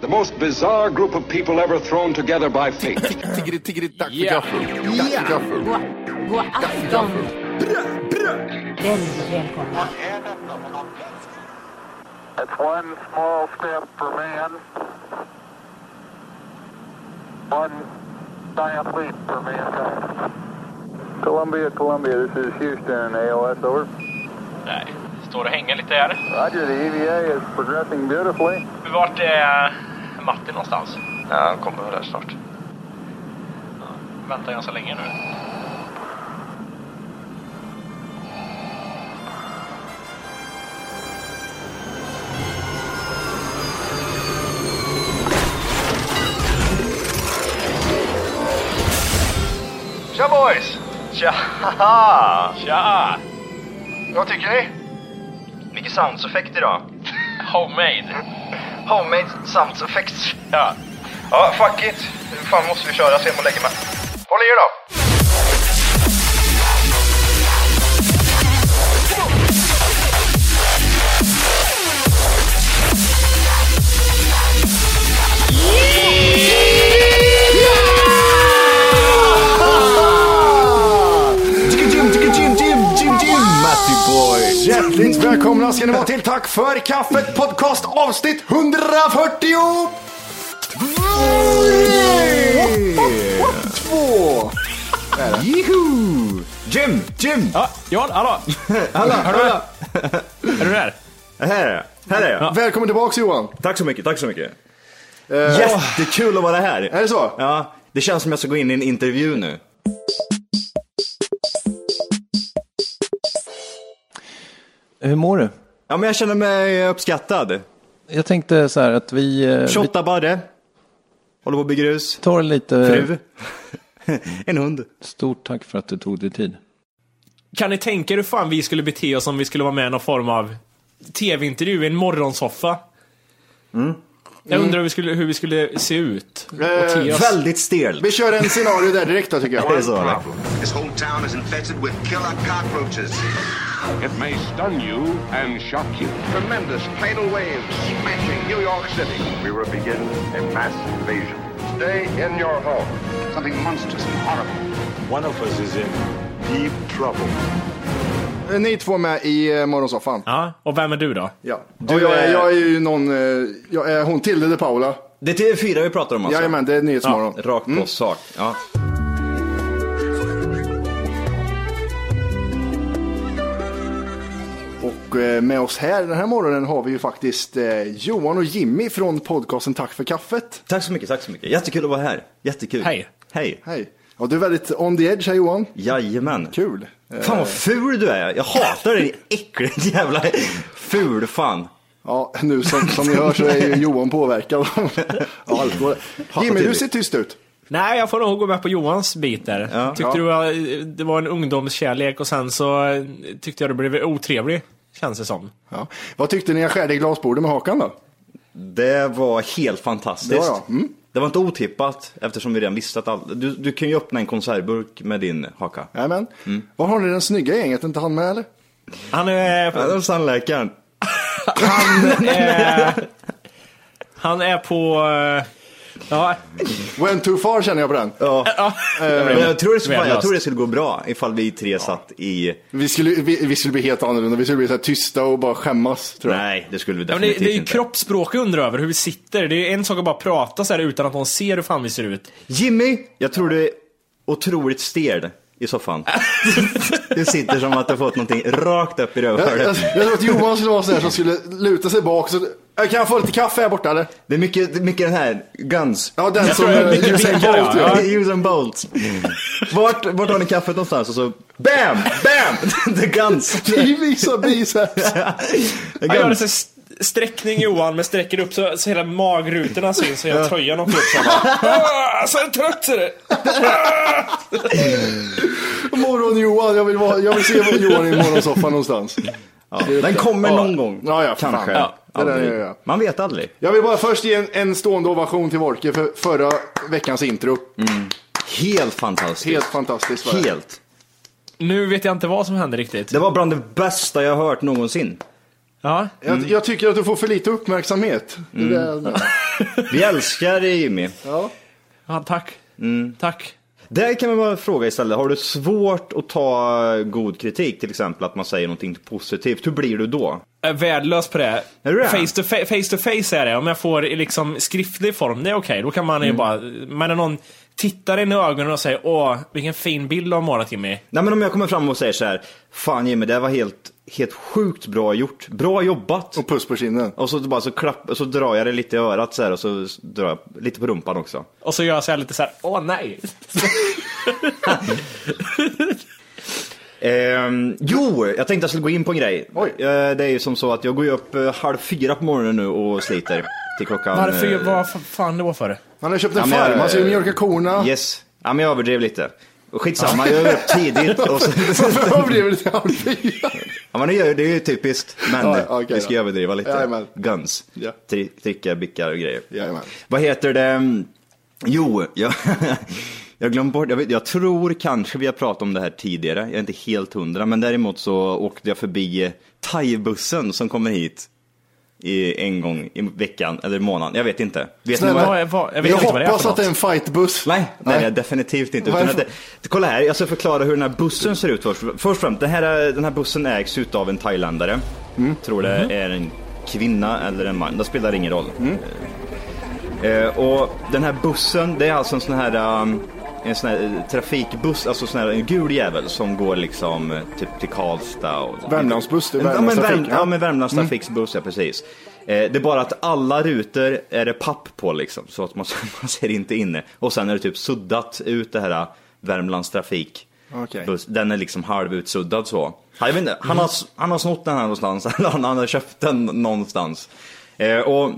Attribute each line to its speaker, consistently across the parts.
Speaker 1: The most bizarre group of people ever thrown together by fate.
Speaker 2: Tiggeri, tiggeri, tack för gaffel. Tack för gaffel.
Speaker 3: God afton! Väldigt välkomna.
Speaker 4: It's one small step for man, one giant leap for mankind. Columbia, Columbia, this is Houston, AOS, over.
Speaker 5: Nej, står och hänger lite här.
Speaker 4: Roger, the EVA is progressing beautifully.
Speaker 5: Vart är Martin någonstans? Ja, han kommer väl där snart. Ja, väntar ganska länge nu. Tja boys! Tja! Tja! Vad tycker ni? Mycket soundseffekt idag. Homemade. Homemade soundseffekt. Ja. Ja, fuck it. Nu fan måste vi köra sen och lägga mig. Håll i er då!
Speaker 2: Jim, jim, jim, jim, jim, jim, jim, Matty boy.
Speaker 6: Hjärtligt välkomna ska ni vara till Tack för kaffet podcast avsnitt 140! Två!
Speaker 2: Jiho!
Speaker 6: Jim, Jim!
Speaker 5: Ja, Johan, hallå!
Speaker 6: Hallå, hallå!
Speaker 5: Är du där?
Speaker 6: Här är jag, här är jag.
Speaker 2: Välkommen tillbaks Johan.
Speaker 6: Tack så mycket, tack så mycket. Eh, Jättekul att vara här.
Speaker 2: Är det så?
Speaker 6: Ja, det känns som jag ska gå in i en intervju nu.
Speaker 7: Hur mår du?
Speaker 6: Ja, men jag känner mig uppskattad.
Speaker 7: Jag tänkte så här att vi, eh, vi
Speaker 6: Shotta Barre. Håller på att bygga hus.
Speaker 7: tar lite...
Speaker 6: Fru. en hund.
Speaker 7: Stort tack för att du tog dig tid.
Speaker 5: Kan ni tänka er hur fan vi skulle bete oss om vi skulle vara med i någon form av tv-intervju i en morgonsoffa? Jag undrar hur vi, skulle, hur vi skulle se ut. och te
Speaker 2: Eh,
Speaker 5: oss.
Speaker 6: Väldigt stel.
Speaker 2: Vi kör en scenario där direkt då tycker
Speaker 6: Det är
Speaker 2: jag.
Speaker 6: så. va?
Speaker 1: This whole town is infested with killer cockroaches.
Speaker 4: It may stun you and shock you. Tremendous tidal waves smashing New York City. We will begin a mass invasion. Stay in your home. Something monstrous and horrible. One of us is in deep trouble.
Speaker 2: Ni två med i eh, morgonsoffan.
Speaker 5: Ja, och vem är du då?
Speaker 2: Ja.
Speaker 6: Du
Speaker 2: Och jag, är...
Speaker 6: är-
Speaker 2: jag är ju någon, eh, jag är hon Tilde de Paula.
Speaker 6: Det är TV4 vi pratar om alltså?
Speaker 2: Jajamän, det är Nyhetsmorgon.
Speaker 6: Ja, rakt på sak. Ja.
Speaker 2: Och eh, med oss här den här morgonen har vi ju faktiskt eh, Johan och Jimmy från podcasten Tack för kaffet.
Speaker 6: Tack så mycket, tack så mycket. Jättekul att vara här. Jättekul.
Speaker 5: Hej.
Speaker 6: Hej.
Speaker 2: Hej. Ja, du är väldigt on the edge här Johan.
Speaker 6: Jajamän.
Speaker 2: Kul. Eh,
Speaker 6: Fan vad ful du är. Jag hatar dig, din äckliga jävla ful fan.
Speaker 2: Ja, nu som, som ni hör så är ju Johan påverkad av alkohol. Jimmy, du
Speaker 6: TV.
Speaker 2: ser tyst ut.
Speaker 5: Nej, jag får nog gå med på Johans bit där. tyckte
Speaker 2: Ja.
Speaker 5: du var, det var en ungdomskärlek och sen så eh, tyckte jag du blev otrevlig, känns det som.
Speaker 2: Ja. Vad tyckte ni jag skärde i glasbordet med hakan då?
Speaker 6: Det var helt fantastiskt.
Speaker 2: Det var jag. Mm.
Speaker 6: Det var inte otippat eftersom vi redan visste att all... du, du kan ju öppna en konservburk med din haka.
Speaker 2: Jajamän. Var har ni den snygga gänget? Inte han med eller?
Speaker 5: Han är,
Speaker 6: Ja, det var Sandläkaren.
Speaker 5: han är på... eh,
Speaker 2: Ja. Went too far känner jag på den. Eh, Ja.
Speaker 6: Men jag tror, det skulle, fan, jag tror det skulle gå bra ifall vi tre satt i...
Speaker 2: Vi skulle, vi, vi skulle bli helt annorlunda. Vi skulle bli så här tysta och bara skämmas. Tror jag.
Speaker 6: Nej, det skulle vi
Speaker 5: Ja, men det,
Speaker 6: definitivt
Speaker 5: det är ju
Speaker 6: inte.
Speaker 5: kroppsspråk jag undrar över, hur vi sitter. Det är en sak att bara prata så här utan att någon ser hur fan vi ser ut.
Speaker 6: Jimmy, jag tror du är otroligt stel i soffan. du sitter som att du fått någonting rakt upp i
Speaker 2: Jag, jag,
Speaker 6: rövhålet.
Speaker 2: jag tror att Johan skulle vara sån här som skulle luta sig bak. Så, jag kan jag få lite kaffe här borta eller?
Speaker 6: Det är mycket, det är mycket den här Guns.
Speaker 2: Ja, den som eh, Usain Bolt
Speaker 6: ja.
Speaker 2: gör.
Speaker 6: Usain Bolt. Vart, vart har ni kaffet någonstans? Och så BAM! BAM! The Guns.
Speaker 2: Vi visar biceps.
Speaker 6: The
Speaker 5: Jag gör en
Speaker 6: Guns.
Speaker 5: sån här st- sträckning Johan, men sträcker upp så, så hela magrutorna syns och hela tröjan åker upp så här bara, "Ah, Så här trött ser det!
Speaker 2: Morgon Johan, jag vill, vara, jag vill se Johan i morgonsoffan någonstans.
Speaker 6: Ja, den kommer någon gång.
Speaker 2: Ja, ja, för fan.
Speaker 6: Kanske.
Speaker 2: Ja, det där
Speaker 6: Aldrig.
Speaker 2: gör jag.
Speaker 6: Man vet aldrig.
Speaker 2: Jag vill bara först ge en, en stående ovation till Wolke för förra veckans intro.
Speaker 6: Helt fantastiskt.
Speaker 2: Helt fantastiskt var det.
Speaker 6: Helt.
Speaker 5: Nu vet jag inte vad som hände riktigt.
Speaker 6: Det var bland det bästa jag har hört någonsin.
Speaker 5: Ja.
Speaker 2: Jag,
Speaker 6: Mm.
Speaker 2: jag tycker att du får för lite uppmärksamhet. Det där-
Speaker 6: Vi älskar dig Jimmy.
Speaker 2: Ja.
Speaker 5: ja, tack. Tack.
Speaker 6: Där kan man bara fråga istället, har du svårt att ta god kritik, till exempel att man säger någonting positivt, hur blir du då?
Speaker 5: Jag är värdelös på det.
Speaker 6: Är du det?
Speaker 5: Face to, fa- face to face är det. Om jag får i liksom skriftlig form, det är okej. Då kan
Speaker 6: Mm.
Speaker 5: man ju bara... Men när någon tittar in i ögonen och säger åh, vilken fin bild du har målat Jimmy.
Speaker 6: Nej men om jag kommer fram och säger så här, fan Jimmy det här var helt, helt sjukt bra gjort, bra jobbat.
Speaker 2: Och puss på kinden.
Speaker 6: Och så, bara, så, klapp, och så drar jag det lite i örat så här, och så drar jag lite på rumpan också.
Speaker 5: Och så gör jag så här lite så här, åh nej.
Speaker 6: Ehm, jo, jag tänkte jag skulle gå in på en grej.
Speaker 2: Oj.
Speaker 6: Eh, det är ju som så att jag går ju upp eh, halv fyra på morgonen nu och sliter till klockan.
Speaker 5: Varför,
Speaker 6: eh,
Speaker 5: vad fa- fan då för?
Speaker 2: Han har köpt en
Speaker 6: Ja, men jag-
Speaker 2: farm, han ska ju mjölka korna.
Speaker 6: Yes. Ja, men jag överdrev lite. Skitsamma, jag är upp tidigt. Och så...
Speaker 2: Varför överdriver du till halv fyra?
Speaker 6: ja, men det är ju- det är ju typiskt. Men
Speaker 2: Ja, okej
Speaker 6: vi ska
Speaker 2: då.
Speaker 6: överdriva lite.
Speaker 2: Jajamän.
Speaker 6: Guns.
Speaker 2: Ja.
Speaker 6: Tri- Trickar, bickar och grejer.
Speaker 2: Jajamän.
Speaker 6: Vad heter det? Jo, jag, jag glömde bort. Jag, vet, jag tror kanske vi har pratat om det här tidigare. Jag är inte helt hundra. Men däremot så åkte jag förbi eh, thaibussen som kommer hit. I, en gång i veckan eller i månaden. Jag vet inte. Vet ni
Speaker 2: Snälla,
Speaker 6: vad-
Speaker 5: Vad, är- vad, jag
Speaker 2: Jag,
Speaker 5: vet inte vad det är
Speaker 2: hoppas
Speaker 5: för
Speaker 2: att det är
Speaker 5: något.
Speaker 2: en fightbuss.
Speaker 6: Nej, nej, nej definitivt inte. Utan att
Speaker 2: Varför?
Speaker 6: det, kolla här, jag ska förklara hur den här bussen ser ut först. Först och främst, den här, den här bussen ägs utav en thailändare.
Speaker 2: Mm.
Speaker 6: Tror det
Speaker 2: Mhm.
Speaker 6: är en kvinna eller en man, det spelar ingen roll.
Speaker 2: Mm.
Speaker 6: Eh, och den här bussen, det är alltså en sån här, um, en sån här eh, trafikbuss, alltså sån här, en gul jävel som går liksom eh, typ till Karlstad. Och,
Speaker 2: Värmlandsbuss, det är
Speaker 6: ja, men, Värm,
Speaker 2: Värmlandstrafik.
Speaker 6: ja men Värmlands trafiksbuss, ja precis. Eh, det är bara att alla rutor är det papp på liksom, så att man, man ser inte inne. Och sen är det typ suddat ut det här eh, Värmlands trafik.
Speaker 2: Okej.
Speaker 6: Buss. Den är liksom halvutsuddad så. Jag vet inte, han, har, s- han har snott den här någonstans, eller han, han har köpt den någonstans. Eh, och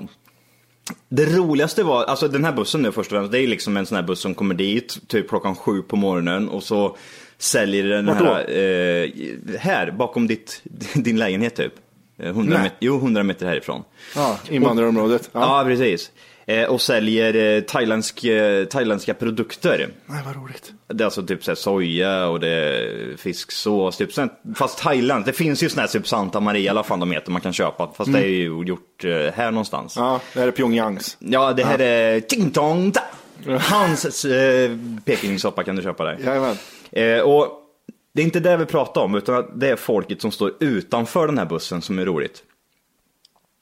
Speaker 6: det roligaste var, alltså den här bussen nu först och främst, det är liksom en sån här buss som kommer dit typ klockan sju på morgonen och så säljer den
Speaker 2: Vart
Speaker 6: här, eh, här bakom ditt, din lägenhet typ. Eh, 100
Speaker 2: Nej.
Speaker 6: meter, jo, 100 meter härifrån.
Speaker 2: Ja, invandrarområdet. Ja.
Speaker 6: Ja, precis. Eh, och säljer eh, thailändsk, eh, thailändska produkter.
Speaker 2: Nej, vad roligt.
Speaker 6: Det är alltså typ såhär soja och det är fisksås, typ sånt, fast Thailand. Det finns ju sån här typ Santa Maria, alla fan de heter, man kan köpa. Fast
Speaker 2: Mm.
Speaker 6: det är ju gjort eh, här någonstans.
Speaker 2: Ja, det här är Pyongyangs.
Speaker 6: Ja, det här är ting tong ta. Hans eh, Pekingsoppa kan du köpa där.
Speaker 2: Jajamän.
Speaker 6: Eh, och det är inte det vi pratar om, utan att det är folket som står utanför den här bussen som är roligt.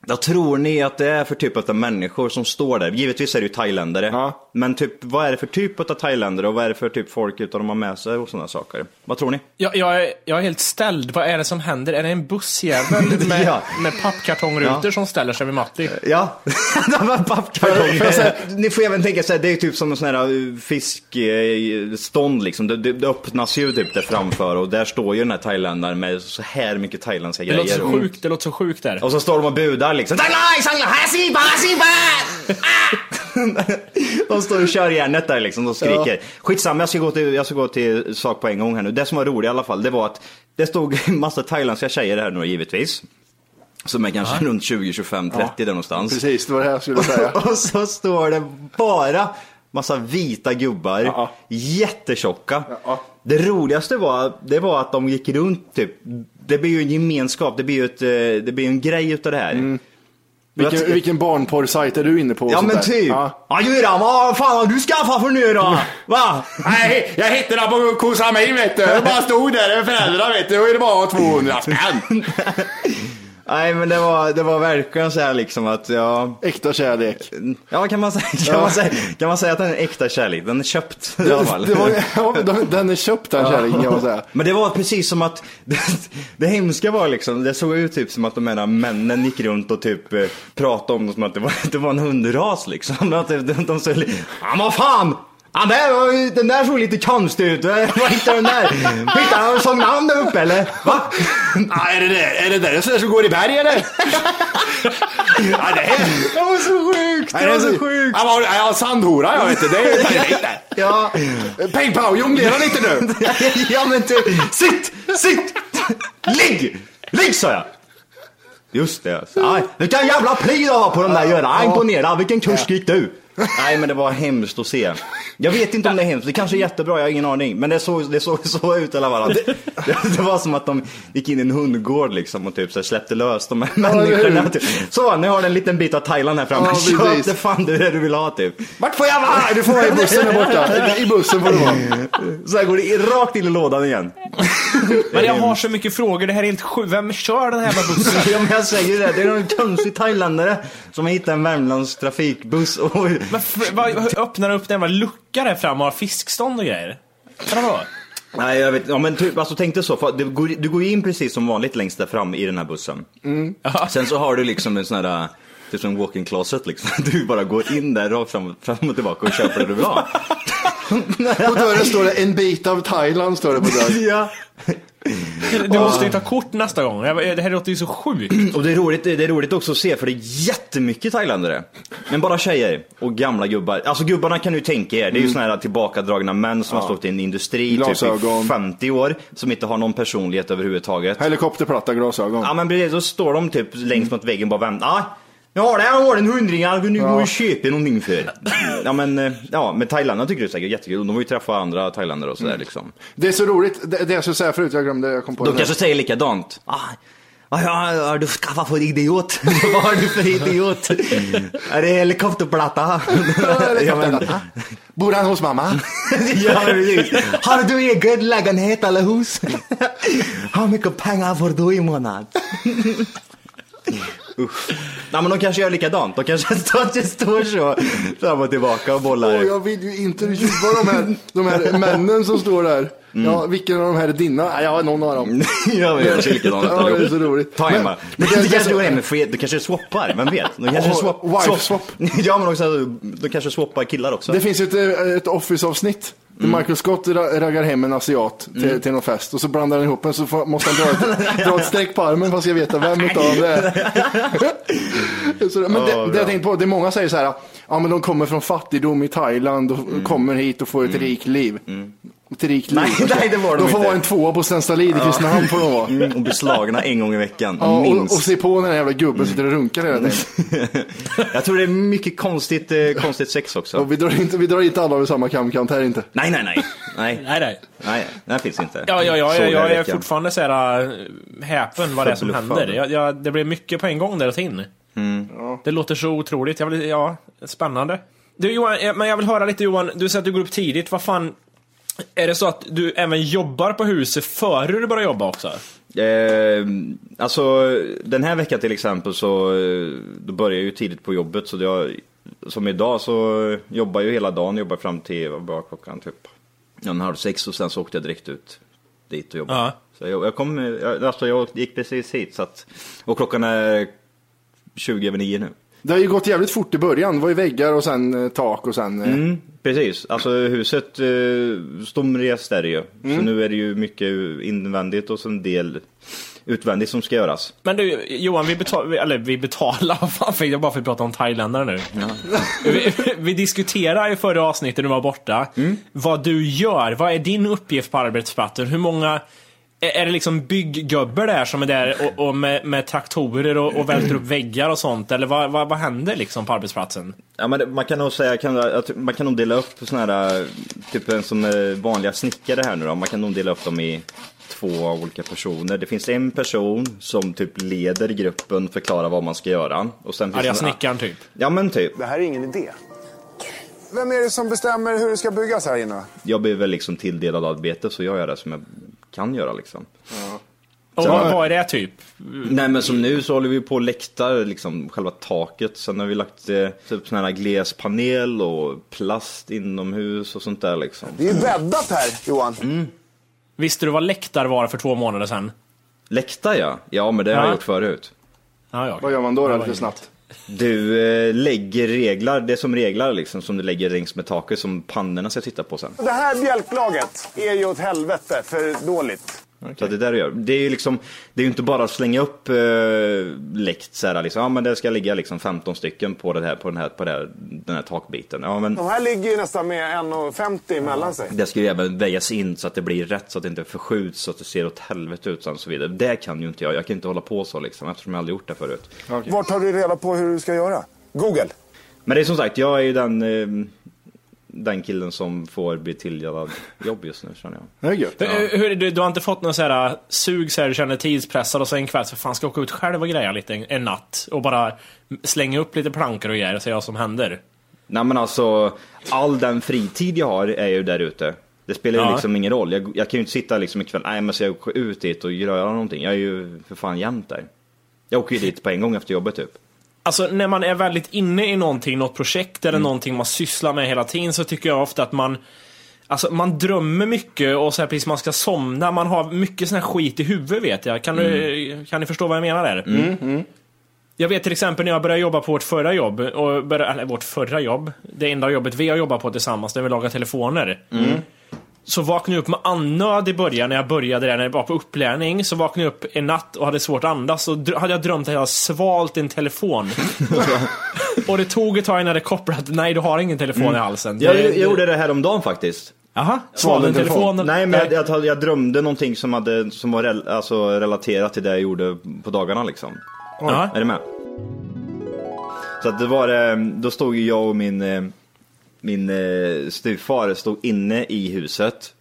Speaker 6: Vad tror ni att det är för typ av människor som står där? Givetvis är det ju thailändare.
Speaker 2: Ja.
Speaker 6: Men typ, vad är det för typ av thailändare och vad är det för typ folk utav de har med sig och sådana saker? Vad tror ni?
Speaker 5: Jag, jag, är, jag är helt ställd. Vad är det som händer? Är det en bussjävel med,
Speaker 6: Ja.
Speaker 5: med pappkartongrutor
Speaker 6: Ja. Eh,
Speaker 5: som ställer sig vid Matti?
Speaker 6: Ja, det var pappkartonger.
Speaker 2: Får jag säga-
Speaker 6: Ni får även tänka så här, det är ju typ som en sån här uh, fiskstånd liksom. Det, det, det öppnas ju typ där framför och där står ju den här thailändaren med så här mycket thailändska
Speaker 5: Det låter
Speaker 6: grejer.
Speaker 5: så
Speaker 6: Och,
Speaker 5: sjukt, det låter så sjukt där.
Speaker 6: och så står de och budar liksom. "Thailai, Thailai, hasi, basi, ba!" Ah! De står och kör järnet där liksom, de skriker. Skitsamma, jag ska, gå till, jag ska gå till sak på en gång här nu. Det som var roligt i alla fall, det var att det stod en massa thailändska tjejer här nu givetvis. Som är kanske runt 20, 25, 30 där någonstans.
Speaker 2: Precis, det var det här jag skulle säga.
Speaker 6: Och så står det bara massa vita gubbar,
Speaker 2: Ja.
Speaker 6: jättetjocka.
Speaker 2: Ja.
Speaker 6: Det roligaste var, det var att de gick runt typ, det blir ju en gemenskap, det blir ju ett, eh, det blir ju en grej utav det här.
Speaker 2: Vilken, vilken barnporrsajt är du inne på? Mm. och
Speaker 6: Ja
Speaker 2: sånt
Speaker 6: men
Speaker 2: där?
Speaker 6: typ.
Speaker 2: Ja. Mm.
Speaker 6: Ja Göran, vad fan har du skaffat för nu då? Va?
Speaker 8: Nej, jag hittade den på Kosamin vet du. Jag bara stod där med föräldrarna vet du. Och det var 200 spänn.
Speaker 6: Nej men det var, det var verkligen så här liksom att jag...
Speaker 2: Äkta kärlek.
Speaker 6: Ja kan man säga, kan,
Speaker 2: Ja.
Speaker 6: man säga, kan man säga att den är äkta kärlek? Den är köpt i alla fall.
Speaker 2: Det var, ja, de- den är köpt den kärringen kan man säga.
Speaker 6: Men det var precis som att, det, det hemska var liksom, det såg ut typ som att de här männen gick runt och typ eh, pratade om dem som att det var, det var en hundras liksom. Att de, de, de såg, li- ja men fan! Ja, där, var ju- den där såg lite konstig ut, var hittade den där? Hittade han som namn där uppe eller? Va?
Speaker 8: Ja, är det det? Är det där en sån där som går i berg eller? Ja, det är...
Speaker 6: Det var så sjukt!
Speaker 8: Nej, det är så
Speaker 6: sjukt!
Speaker 8: Han var, ja, sandhora jag vet du. Det är ju perfekt där.
Speaker 6: Ja.
Speaker 8: Peng Pao, jonglera lite nu.
Speaker 6: ja men typ, sitt! Sitt! Ligg! Ligg sa jag! Just det. Nej, vilken jävla pli du har på den där Göran. Ja. Imponerad. Vilken kurs gick du? Nej men det var hemskt att se. Jag vet inte om det är hemskt, det kanske är jättebra, jag har ingen aning. Men det såg, det såg så ut i alla fall. Det, det var som att de gick in i en hundgård liksom och typ så här släppte lös de här människorna. Typ. Så, nu har du en liten bit av Thailand här framme.
Speaker 2: Ja,
Speaker 6: Köp
Speaker 2: precis.
Speaker 6: det fan du det du vill ha typ.
Speaker 8: Vart får jag
Speaker 2: Nej, du får vara i bussen där borta. I bussen får du vara.
Speaker 6: Så här går det i- rakt in i lådan igen.
Speaker 5: Men jag har så mycket frågor, det här är helt sjukt. Vem kör den här jävla bussen?
Speaker 6: Ja, men jag säger det, det är någon konstig thailändare som har hittat en Värmlands trafikbuss och...
Speaker 5: Men f- vad- öppnar upp den jävla lucka där fram och har fiskstånd och grejer? Vadå?
Speaker 6: Nej jag vet ja, men typ, alltså tänk dig så, för du går, du går in precis som vanligt längst där fram i den här bussen. Sen så har du liksom en sån här, typ som en walk-in closet liksom. Du bara går in där rakt fram, fram och tillbaka och köper det du vill ha.
Speaker 2: På dörren står det en bit av Thailand står det på dörren.
Speaker 6: ja.
Speaker 5: Du måste ju ta kort nästa gång. Jag bara, Det här låter ju så sjukt.
Speaker 6: Och det är, roligt, det är roligt också att se för det är jättemycket thailändare. Men bara tjejer och gamla gubbar. Alltså gubbarna kan du tänka er, det är ju såna här tillbakadragna män som har stått i en industri typ i
Speaker 2: Glasögon.
Speaker 6: 50 år. Som inte har någon personlighet överhuvudtaget.
Speaker 2: Helikopterplatta glasögon.
Speaker 6: Ja men precis, då står de typ längst mot väggen och bara väntar. Ah, ja, det här har en hundring, jag kunde ju gå och köpa någonting för. Ja men, eh, ja, men thailändarna tycker det är säkert jättekul. De har ju träffat andra thailändare och sådär liksom.
Speaker 2: Det är så roligt, det, det jag skulle säga förut, jag glömde, jag kom på
Speaker 6: De
Speaker 2: det nu.
Speaker 6: kanske säger likadant. Ah, vad har vad har du skaffat för idiot? vad har du för idiot? är det helikopterplatta? Mm. ja, men,
Speaker 2: Bor han hos mamma?
Speaker 6: ja, precis. Har du egen lägenhet eller hus? Hur mycket pengar får du i månaden? Usch. Nej men de kanske gör likadant, de kanske står, står så fram och tillbaka och bollar.
Speaker 2: Åh, jag vill ju intervjua de här, de här männen som står där.
Speaker 6: Mm.
Speaker 2: Ja, vilken av de här är dina? Nej, jag har någon av dem.
Speaker 6: Ja, men jag ser likadant ut
Speaker 2: Ja, det är så roligt.
Speaker 6: Ta en
Speaker 2: Men-
Speaker 6: bara.
Speaker 2: men
Speaker 6: Det
Speaker 2: det-
Speaker 6: kanske går hem med fred, du kanske swappar, vem vet? De kanske
Speaker 2: Och
Speaker 6: swap,
Speaker 2: wife swap.
Speaker 6: Ja men också, de kanske swappar killar också.
Speaker 2: Det finns ju ett, eh, ett Office-avsnitt. där
Speaker 6: Mm.
Speaker 2: Michael Scott ra- raggar hem en asiat till, till någon fest och så blandar han ihop en så får, måste han dra ett, dra ett streck på armen för att ska veta vem utav dem det är. så, men
Speaker 6: Ja,
Speaker 2: det, det
Speaker 6: bra.
Speaker 2: jag tänkte på, det är många säger så här, ja men de kommer från fattigdom i Thailand och
Speaker 6: Mm.
Speaker 2: kommer hit och får ett rikt liv. Ett rikt liv.
Speaker 6: Nej, nej, det var de
Speaker 2: de får
Speaker 6: inte.
Speaker 2: vara en tvåa på Stenstalid i Kristinehamn får de vara.
Speaker 6: Mm, och blir slagna en gång i veckan,
Speaker 2: Ja, och, och
Speaker 6: minst.
Speaker 2: se
Speaker 6: Mm.
Speaker 2: på när den jävla gubben sitter och runkar hela tiden.
Speaker 6: Jag tror det är mycket konstigt, eh, konstigt sex också.
Speaker 2: Och vi drar inte, vi drar inte alla över samma kamkant här inte.
Speaker 6: Nej, nej, nej. Nej,
Speaker 5: Nej, nej.
Speaker 6: nej, det här finns inte.
Speaker 5: Ja, ja, ja, ja,
Speaker 6: Såg jag i
Speaker 5: jag är
Speaker 6: veckan.
Speaker 5: fortfarande så här äh, häpen vad det är som
Speaker 6: Förbluffande.
Speaker 5: händer. Jag, jag, det blir mycket på en gång där och in. Det låter så otroligt. Jag vill, ja, spännande. Du Johan, eh, men jag vill höra lite Johan, du säger att du går upp tidigt. Vad fan, är det så att du även jobbar på huset före du börjar jobba också?
Speaker 6: Eh, alltså den här veckan till exempel så eh, då börjar jag ju tidigt på jobbet så jag, som idag så jobbar jag ju hela dagen, jobbar fram till vad var klockan typ en halv sex och sen så åkte jag direkt ut dit och jobbade.
Speaker 5: Ja.
Speaker 6: Så jag, jag kom, eh, jag, alltså jag gick precis hit så att, och klockan är 20 över nio nu.
Speaker 2: Det har ju gått jävligt fort i början. Det var ju väggar och sen eh, tak och sen... eh,
Speaker 6: Mm, precis, alltså huset eh, stomrest är det ju. Så nu är det ju mycket invändigt och så en del utvändigt som ska göras.
Speaker 5: Men du Johan, vi betalar, eller vi betalar, vad fan fick jag bara för att prata om thailändare nu?
Speaker 6: Mm.
Speaker 5: Vi, vi diskuterade i förra avsnittet, du var borta, vad du gör. Vad är din uppgift på arbetsplatsen? Hur många, är, är det liksom bygggubbar där som är där och, och med, med traktorer och, och välter upp väggar och sånt? Eller vad, vad, vad händer liksom på arbetsplatsen?
Speaker 6: Ja, men det- man kan nog säga kan, att man kan nog eh, dela upp sådana här, typ en som är vanliga snickare här nu då, man kan nog dela upp dem i två olika personer. Det finns en person som typ leder gruppen, förklarar vad man ska göra. Och sen finns
Speaker 5: Arga
Speaker 6: en-
Speaker 5: snickaren typ.
Speaker 6: Ja men typ.
Speaker 9: Det här är ingen idé. Vem är det som bestämmer hur det ska byggas här inne?
Speaker 6: Jag blir väl liksom tilldelad arbete så jag gör det som jag kan göra liksom.
Speaker 5: Och
Speaker 6: Sen-
Speaker 5: vad, vad är det typ?
Speaker 6: Nej men som nu så håller vi på och läktar liksom själva taket. Sen har vi lagt eh, typ sån här glespanel och plast inomhus och sånt där liksom.
Speaker 9: Det är ju bäddat här, Johan.
Speaker 5: Visste du vad läktar var för två månader sedan?
Speaker 6: Läktar ja. Ja men det har
Speaker 5: Ja.
Speaker 6: jag gjort förut.
Speaker 2: Vad gör man då, då
Speaker 6: Ja,
Speaker 2: lite
Speaker 6: inget.
Speaker 2: snabbt?
Speaker 6: Du eh, lägger reglar, det som reglar liksom som du lägger längs med taket som pannorna ska titta på sen.
Speaker 9: Det här bjälklaget är ju åt helvete för dåligt.
Speaker 6: Så att det är där du gör. Det är ju liksom, det är ju inte bara att slänga upp eh, läkt så här liksom, ja men det ska ligga liksom 15 stycken på, det här, på, den, här, på det här, den här takbiten. Ja men
Speaker 9: De här ligger ju nästan med 1,50 emellan sig.
Speaker 6: det ska ju även vägas in så att det blir rätt, så att det inte förskjuts, så att det ser åt helvete ut sen och så vidare. Det kan ju inte jag, jag kan inte hålla på så liksom eftersom jag aldrig gjort det förut.
Speaker 9: Vart tar du reda på hur du ska göra? Google.
Speaker 6: Men det är som sagt, jag är ju den, eh, den killen som får bli tilldelad jobb just nu känner jag.
Speaker 2: Det är gött.
Speaker 5: eh, Hur, hur, du, du har inte fått någon så här eh, sug så här, du känner dig tidspressad och så en kväll så fan ska jag åka ut själv och greja lite en, en natt och bara slänga upp lite plankor och grejer och se vad som händer?
Speaker 6: Nej men alltså, all den fritid jag har är ju där ute. Det spelar ju
Speaker 5: Ja.
Speaker 6: liksom ingen roll. Jag, jag kan ju inte sitta liksom ikväll, nej men ska jag åka ut dit och göra någonting? Jag är ju för fan jämt där. Jag åker ju dit på en gång efter jobbet typ.
Speaker 5: Alltså när man är väldigt inne i någonting, något projekt eller någonting man sysslar med hela tiden så tycker jag ofta att man Alltså man drömmer mycket och så här precis man ska somna, man har mycket sån här skit i huvudet vet jag. Kan, du, kan ni förstå vad jag menar där?
Speaker 10: Mm, mm.
Speaker 5: Jag vet till exempel när jag började jobba på vårt förra jobb, och började, eller vårt förra jobb, det enda jobbet vi har jobbat på tillsammans, där vi lagar telefoner.
Speaker 10: Mm.
Speaker 5: Så vaknade jag upp med andnöd i början när jag började där, när jag var på upplärning. Så vaknade jag upp en natt och hade svårt att andas, så dr- hade jag drömt att jag hade svalt en telefon. och det tog ett tag innan det kopplade, att nej du har ingen telefon
Speaker 10: Mm.
Speaker 5: i halsen.
Speaker 6: Jag,
Speaker 5: Det-
Speaker 6: jag
Speaker 5: det-
Speaker 6: gjorde det här om dagen faktiskt.
Speaker 5: Aha, svalde en telefon.
Speaker 6: Nej men
Speaker 5: Nej.
Speaker 6: jag, jag, jag drömde någonting som, hade, som var rel, alltså, relaterat till det jag gjorde på dagarna liksom.
Speaker 5: Oj. Ja.
Speaker 6: Är du med? Så att det var, eh, då stod ju jag och min, eh, min eh, styvfar stod inne i huset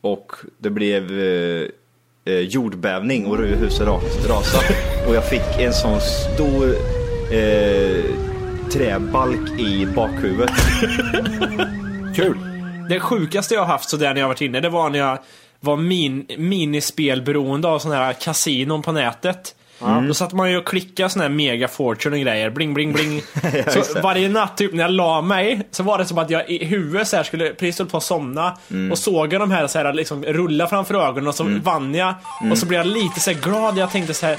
Speaker 6: och det blev eh, eh, jordbävning och huset ras- rasade. Och jag fick en sån stor eh, träbalk i bakhuvudet.
Speaker 5: Kul. Det sjukaste jag har haft sådär när jag varit inne, det var när jag var min, minispelberoende av sådana här kasinon på nätet.
Speaker 10: Mm.
Speaker 5: Då satt man ju och klickade sådana här mega fortune och grejer, bling bling bling.
Speaker 10: Ja, just
Speaker 5: så
Speaker 10: det.
Speaker 5: varje natt typ när jag la mig, så var det som att jag i huvudet så här skulle precis höll på att somna.
Speaker 10: Mm.
Speaker 5: Och såg jag de här, så här liksom, rulla framför ögonen och så vann jag.
Speaker 10: Mm.
Speaker 5: Och så blev jag lite så här glad, jag tänkte så här.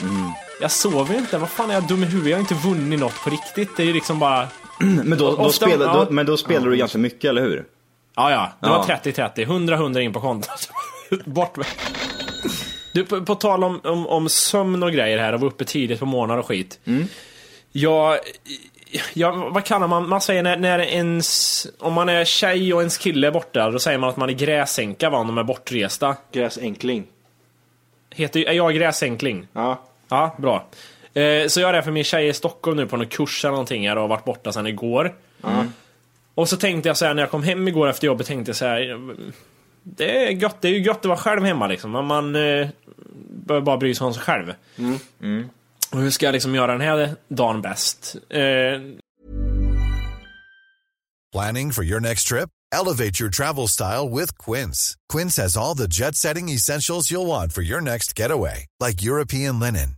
Speaker 5: Jag sover ju inte, vad fan är jag dum i huvudet? Jag har inte vunnit något på riktigt. Det är ju liksom bara...
Speaker 6: Men då, då
Speaker 5: Ofta-
Speaker 6: spelar,
Speaker 5: ja.
Speaker 6: då, men då spelar du ganska mycket, eller hur?
Speaker 5: Ja, ja. Det var
Speaker 6: Ja.
Speaker 5: 30-30. 100-100 in på kontot. Bort med. Du, på, på tal om, om, om sömn och grejer här och vara uppe tidigt på morgnar och skit. Jag, jag, vad kallar man, man säger när, när ens, om man är tjej och ens kille är borta, då säger man att man är gräsänka va, om de är bortresta.
Speaker 2: Gräsänkling.
Speaker 5: Heter, är jag gräsänkling?
Speaker 2: Ja.
Speaker 5: Ja, bra. Eh, så jag är där för min tjej i Stockholm nu på någon kurs eller någonting här och har varit borta sedan igår. Och så tänkte jag så här när jag kom hem igår efter jobbet, tänkte jag så här. Det är gött, det är ju gött att vara själv hemma liksom. Man, man eh, behöver bara bry sig om sig själv. Och hur ska jag liksom göra den här dagen bäst? Eh,
Speaker 4: Planning for your next trip? Elevate your travel style with Quince. Quince has all the jet setting essentials you'll want for your next getaway, like European linen,